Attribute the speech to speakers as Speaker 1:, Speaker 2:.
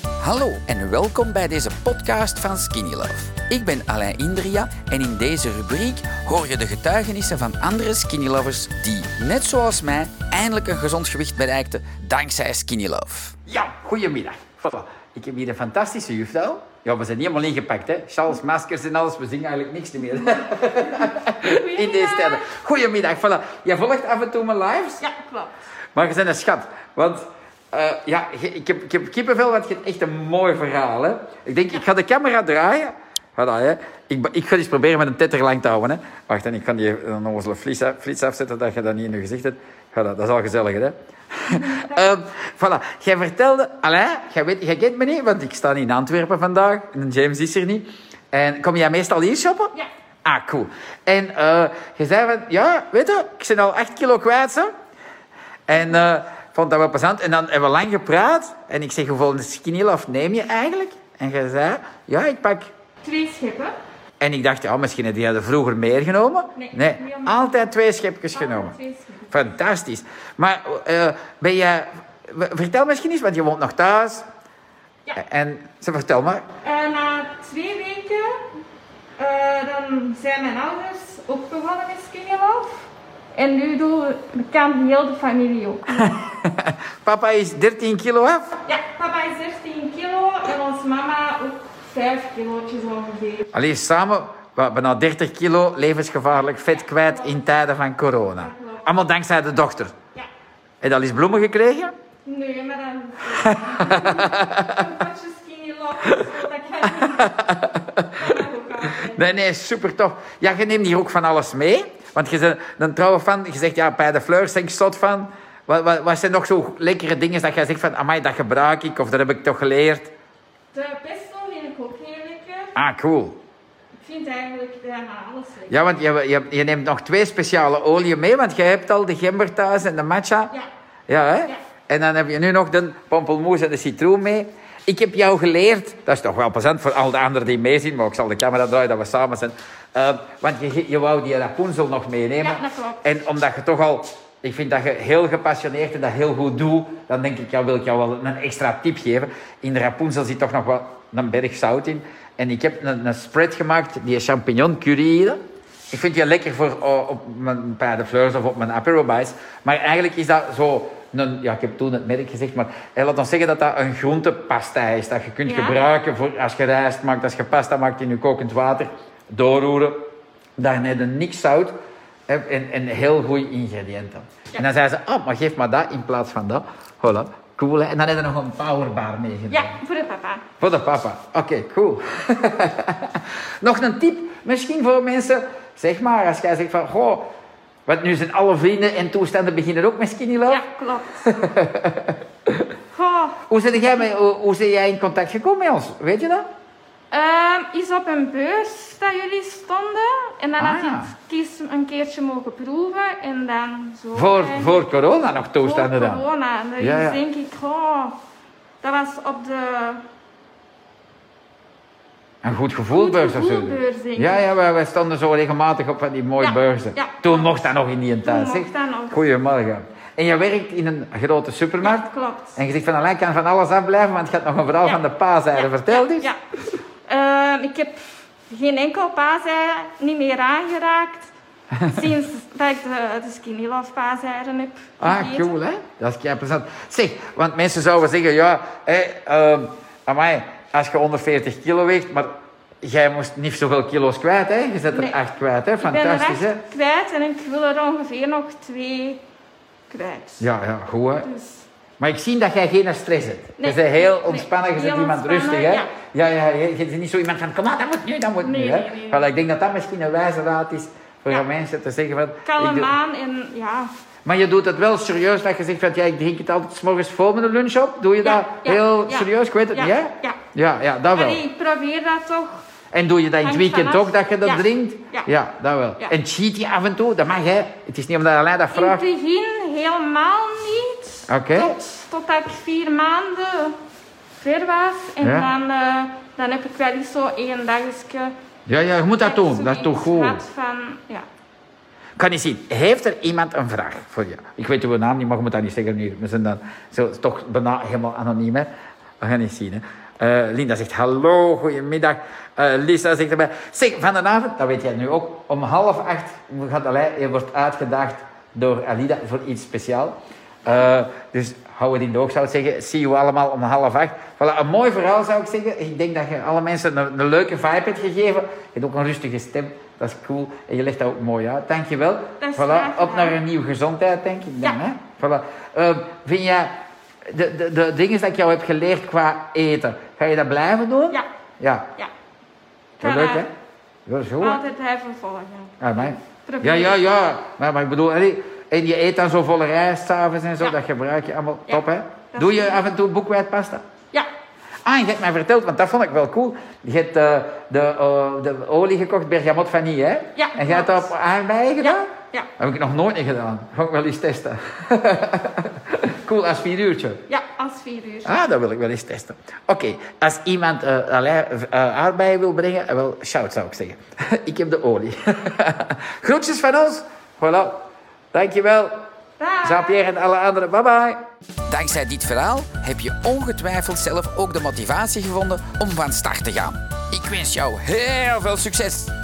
Speaker 1: Hallo en welkom bij deze podcast van Skinny Love. Ik ben Alain Indria en in deze rubriek hoor je de getuigenissen van andere Skinny Lovers die, net zoals mij, eindelijk een gezond gewicht bereikten dankzij Skinny Love.
Speaker 2: Ja, goedemiddag. Voilà. Ik heb hier een fantastische juffrouw. Ja, we zijn helemaal ingepakt, hè. Charles, maskers en alles. We zien eigenlijk niks meer. In deze tijden. Goedemiddag, voilà. Jij volgt af en toe mijn lives?
Speaker 3: Ja, klopt.
Speaker 2: Maar je bent een schat. Want, eh, ja, je- ik heb, ik heb kippenvel, want je hebt echt een mooi verhaal, hè. Ik denk, ik ga de camera draaien. Voilà, hè. Ik, be- ik ga eens proberen met een tetter lang te houden, hè. Wacht, en ik ga die eh, een onnozele flits, af- flits afzetten, dat je dat niet in je gezicht hebt. Voilà, dat is al gezellig, hè. Ehm voilà, jij vertelde, Alain, jij, weet, jij kent me niet, want ik sta niet in Antwerpen vandaag en James is er niet. En kom jij meestal hier shoppen?
Speaker 3: Ja.
Speaker 2: Ah, cool. En eh, je zei van, ja, weet je, ik ben al 8 kilo kwijt, zo. En eh vond dat wel plezant. En dan hebben we lang gepraat. En ik zeg, hoeveel skinny love neem je eigenlijk? En jij zei, ja, ik pak...
Speaker 3: Twee scheppen.
Speaker 2: En ik dacht, ja, misschien had je er vroeger meer genomen.
Speaker 3: Nee, niet allemaal.
Speaker 2: altijd twee schepjes genomen.
Speaker 3: twee scheppen.
Speaker 2: Fantastisch. Maar eh, ben jij... w- Vertel misschien eens, want je woont nog thuis. Eh,
Speaker 3: Ja.
Speaker 2: En ze vertel maar.
Speaker 3: En Eh, na twee weken, eh, dan zijn mijn ouders ook begonnen met Skinny Love. En nu doe- kan heel de familie ook.
Speaker 2: Papa is 13 kilo af.
Speaker 3: Ja, papa is 13 kilo en onze mama ook 5 kilootjes ongeveer.
Speaker 2: Allee, samen wat, bijna 30 kilo levensgevaarlijk vet kwijt in tijden van corona. Allemaal dankzij de dochter.
Speaker 3: Ja.
Speaker 2: En dat is bloemen gekregen?
Speaker 3: Nee, maar dan... Een potje Skinny Love, zo, dat kan niet. Dat mag ook altijd.
Speaker 2: Nee, nee, super tof. Ja, je neemt hier ook van alles mee. Want je bent een trouwe fan. Je zegt, ja, bij de fleurs ben ik zot van. Wat, wat, wat zijn nog zo lekkere dingen dat jij zegt van, amai, dat gebruik ik of dat heb ik toch geleerd?
Speaker 3: De pesto vind ik ook heel lekker.
Speaker 2: Ah, cool.
Speaker 3: Ik vind eigenlijk bijna alles lekker.
Speaker 2: Ja, want je, je, je neemt nog twee speciale oliën mee, want jij hebt al de gember thuis en de matcha.
Speaker 3: Ja.
Speaker 2: Ja, hè?
Speaker 3: Ja.
Speaker 2: En dan heb je nu nog de pompelmoes en de citroen mee. Ik heb jou geleerd, dat is toch wel plezant voor al de anderen die meezien, maar ik zal de camera draaien dat we samen zijn. Eh, want je, je wou die Rapunzel nog meenemen.
Speaker 3: Ja, dat klopt.
Speaker 2: En omdat je toch al, ik vind dat je heel gepassioneerd en dat heel goed doet, dan denk ik, ja, wil ik jou wel een extra tip geven. In de Rapunzel zit toch nog wel een berg zout in. En ik heb een, een spread gemaakt, die champignon curry. hier. Ik vind die lekker voor oh, op mijn pain de fleurs of op mijn Aperol bites. Maar eigenlijk is dat zo, een, ja, ik heb toen het merk gezegd, maar eh, laat ons zeggen dat dat een groentepasta is. Dat je kunt
Speaker 3: Ja.
Speaker 2: gebruiken voor als je rijst maakt, als je pasta maakt in je kokend water. Doorroeren, daar net een niks zout en, en, en heel goede ingrediënten. En dan zei ze, ah, maar geef maar dat in plaats van dat. Voilà, cool. Hè? En dan hebben we nog een powerbar meegenomen.
Speaker 3: Ja, voor de papa.
Speaker 2: Voor de papa. Oké, cool. nog een tip, misschien voor mensen. Zeg maar, als jij zegt van, goh, want nu zijn alle vrienden en toestanden beginnen ook met skinny love.
Speaker 3: Ja, klopt. Goh,
Speaker 2: Hoe, zit jij met, hoe, hoe zijn jij in contact gekomen met ons? Weet je dat?
Speaker 3: ehm, is op een beurs dat jullie stonden. En dan had
Speaker 2: Ah.
Speaker 3: ik het kies een keertje mogen proeven. En dan zo.
Speaker 2: Voor,
Speaker 3: en-
Speaker 2: voor corona nog
Speaker 3: voor
Speaker 2: toestanden dan.
Speaker 3: corona. En dan
Speaker 2: Ja, ja.
Speaker 3: denk ik, goh, dat was op de
Speaker 2: Een goed gevoelbeurs
Speaker 3: Goed
Speaker 2: of zo.
Speaker 3: gevoelbeurs, denk ik.
Speaker 2: Ja, ja wij, wij stonden zo regelmatig op van die mooie
Speaker 3: Ja,
Speaker 2: beurzen.
Speaker 3: ja.
Speaker 2: Toen mocht dat nog in die tijd.
Speaker 3: mocht
Speaker 2: zeg.
Speaker 3: dat nog.
Speaker 2: Goedemorgen. En je werkt in een grote supermarkt.
Speaker 3: Ja, klopt.
Speaker 2: En je zegt van Alain, ik kan van alles afblijven, want je had nog een verhaal
Speaker 3: Ja.
Speaker 2: van de paaseieren. Vertel eens.
Speaker 3: Ja. Ehm, ik heb geen enkel paasei niet meer aangeraakt. sinds dat ik de, de Skinny Love paaseieren heb
Speaker 2: Ah,
Speaker 3: gegeten.
Speaker 2: cool, hè? Dat is kei plezant. Zeg, want mensen zouden zeggen, ja, hé, ehm, amai, als je 140 kilo weegt, maar jij moest niet zoveel kilo's kwijt, hè? Je zet er
Speaker 3: Nee.
Speaker 2: acht kwijt, hè?
Speaker 3: Ik ben er
Speaker 2: Fantastisch, hè?
Speaker 3: echt kwijt en ik wil er ongeveer nog twee kwijt.
Speaker 2: Ja, ja, goed, hè?
Speaker 3: Dus
Speaker 2: Maar ik zie dat jij geen stress hebt.
Speaker 3: Nee.
Speaker 2: je bent heel
Speaker 3: Nee.
Speaker 2: ontspannen, je bent
Speaker 3: Heel
Speaker 2: iemand rustig,
Speaker 3: ontspannen,
Speaker 2: hè? Ja, ja, je, je bent niet zo iemand van, kom aan, dat moet nu, dat moet
Speaker 3: Nee,
Speaker 2: nu, hè?
Speaker 3: nee, nee, nee.
Speaker 2: Wel, ik denk dat dat misschien een wijze raad is voor
Speaker 3: Ja.
Speaker 2: mensen te zeggen van... ik doe-
Speaker 3: kalm aan en ja.
Speaker 2: Maar je doet het wel serieus, dat je zegt van, ja, ik drink het altijd 's morgens voor mijn lunch op. Doe je
Speaker 3: Ja,
Speaker 2: dat
Speaker 3: ja,
Speaker 2: heel
Speaker 3: ja.
Speaker 2: serieus? Ik weet het
Speaker 3: Ja,
Speaker 2: niet, hè?
Speaker 3: ja.
Speaker 2: Ja, ja, dat Ah, wel.
Speaker 3: Allee, ik probeer dat toch.
Speaker 2: En doe je dat in het
Speaker 3: Hangt
Speaker 2: weekend
Speaker 3: vanaf.
Speaker 2: ook, dat je dat
Speaker 3: Ja.
Speaker 2: drinkt?
Speaker 3: Ja.
Speaker 2: dat wel.
Speaker 3: Ja.
Speaker 2: En cheat je af en toe? Dat mag, hè? Het is niet omdat alleen dat
Speaker 3: In het
Speaker 2: vraagt.
Speaker 3: begin helemaal niet.
Speaker 2: Oké.
Speaker 3: Tot, totdat ik vier maanden ver was. En
Speaker 2: Ja.
Speaker 3: dan, eh, dan heb ik wel eens zo één dagje.
Speaker 2: Ja, ja, je moet dat doen. Dat is toch goed?
Speaker 3: gehad Van, ja.
Speaker 2: Ik kan niet zien. Heeft er iemand een vraag voor jou? Ik weet uw naam niet, maar je moet dat niet zeggen nu. We zijn dan zo, toch bijna helemaal anoniem, hè? We gaan eens zien, hè. Eh, Linda zegt hallo, goedemiddag. Eh, Lisa zegt erbij, zeg, van de avond, dat weet jij nu ook, om half acht gaat Alain, je wordt uitgedaagd door Alida voor iets speciaals. Eh, dus hou het in de oog, zou ik zeggen. See you allemaal om half acht. Voilà, een mooi verhaal zou ik zeggen. Ik denk dat je alle mensen een, een leuke vibe hebt gegeven. Je hebt ook een rustige stem. Dat is cool. En je legt dat ook mooi uit. Dankjewel.
Speaker 3: Dat is graag
Speaker 2: Voilà, op
Speaker 3: gedaan.
Speaker 2: naar een nieuwe gezondheid, denk ik dan.
Speaker 3: Ja.
Speaker 2: Hè? Voilà. Eh, vind jij de, de, de dingen die ik jou heb geleerd qua eten, ga je dat blijven doen?
Speaker 3: Ja.
Speaker 2: Ja,
Speaker 3: Ja.
Speaker 2: dat
Speaker 3: Ga
Speaker 2: leuk hè?
Speaker 3: daar
Speaker 2: Dat is goed. hè?
Speaker 3: Altijd blijven volgen.
Speaker 2: Amai. Ja,
Speaker 3: Proberen.
Speaker 2: Ah, ja, ja. Maar, maar ik bedoel, allee, en je eet dan zo volle rijst s'avonds en zo,
Speaker 3: Ja.
Speaker 2: dat gebruik je allemaal.
Speaker 3: Ja.
Speaker 2: Top hè?
Speaker 3: Dat
Speaker 2: Doe
Speaker 3: is
Speaker 2: je
Speaker 3: goed.
Speaker 2: af en toe boekwijdpasta?
Speaker 3: Ja.
Speaker 2: Ah, je hebt mij verteld, want dat vond ik wel cool. Je hebt eh, de, eh, de olie gekocht, bergamot vanille, hè?
Speaker 3: Ja,
Speaker 2: En je hebt dat
Speaker 3: klopt.
Speaker 2: op aardbeien gedaan?
Speaker 3: Ja. Ja.
Speaker 2: Heb ik nog nooit niet gedaan. Ga ik wel eens testen. cool, als vier uurtje.
Speaker 3: Ja, als vier uur.
Speaker 2: Ah, dat wil ik wel eens testen. Oké, als iemand eh allerlei eh, aardbeien wil brengen, eh, wel, shout zou ik zeggen. ik heb de olie. Groetjes van ons. Voilà. Dankjewel.
Speaker 3: Dag.
Speaker 2: Jean-Pierre en alle anderen. Bye bye.
Speaker 1: Dankzij dit verhaal heb je ongetwijfeld zelf ook de motivatie gevonden om van start te gaan. Ik wens jou heel veel succes!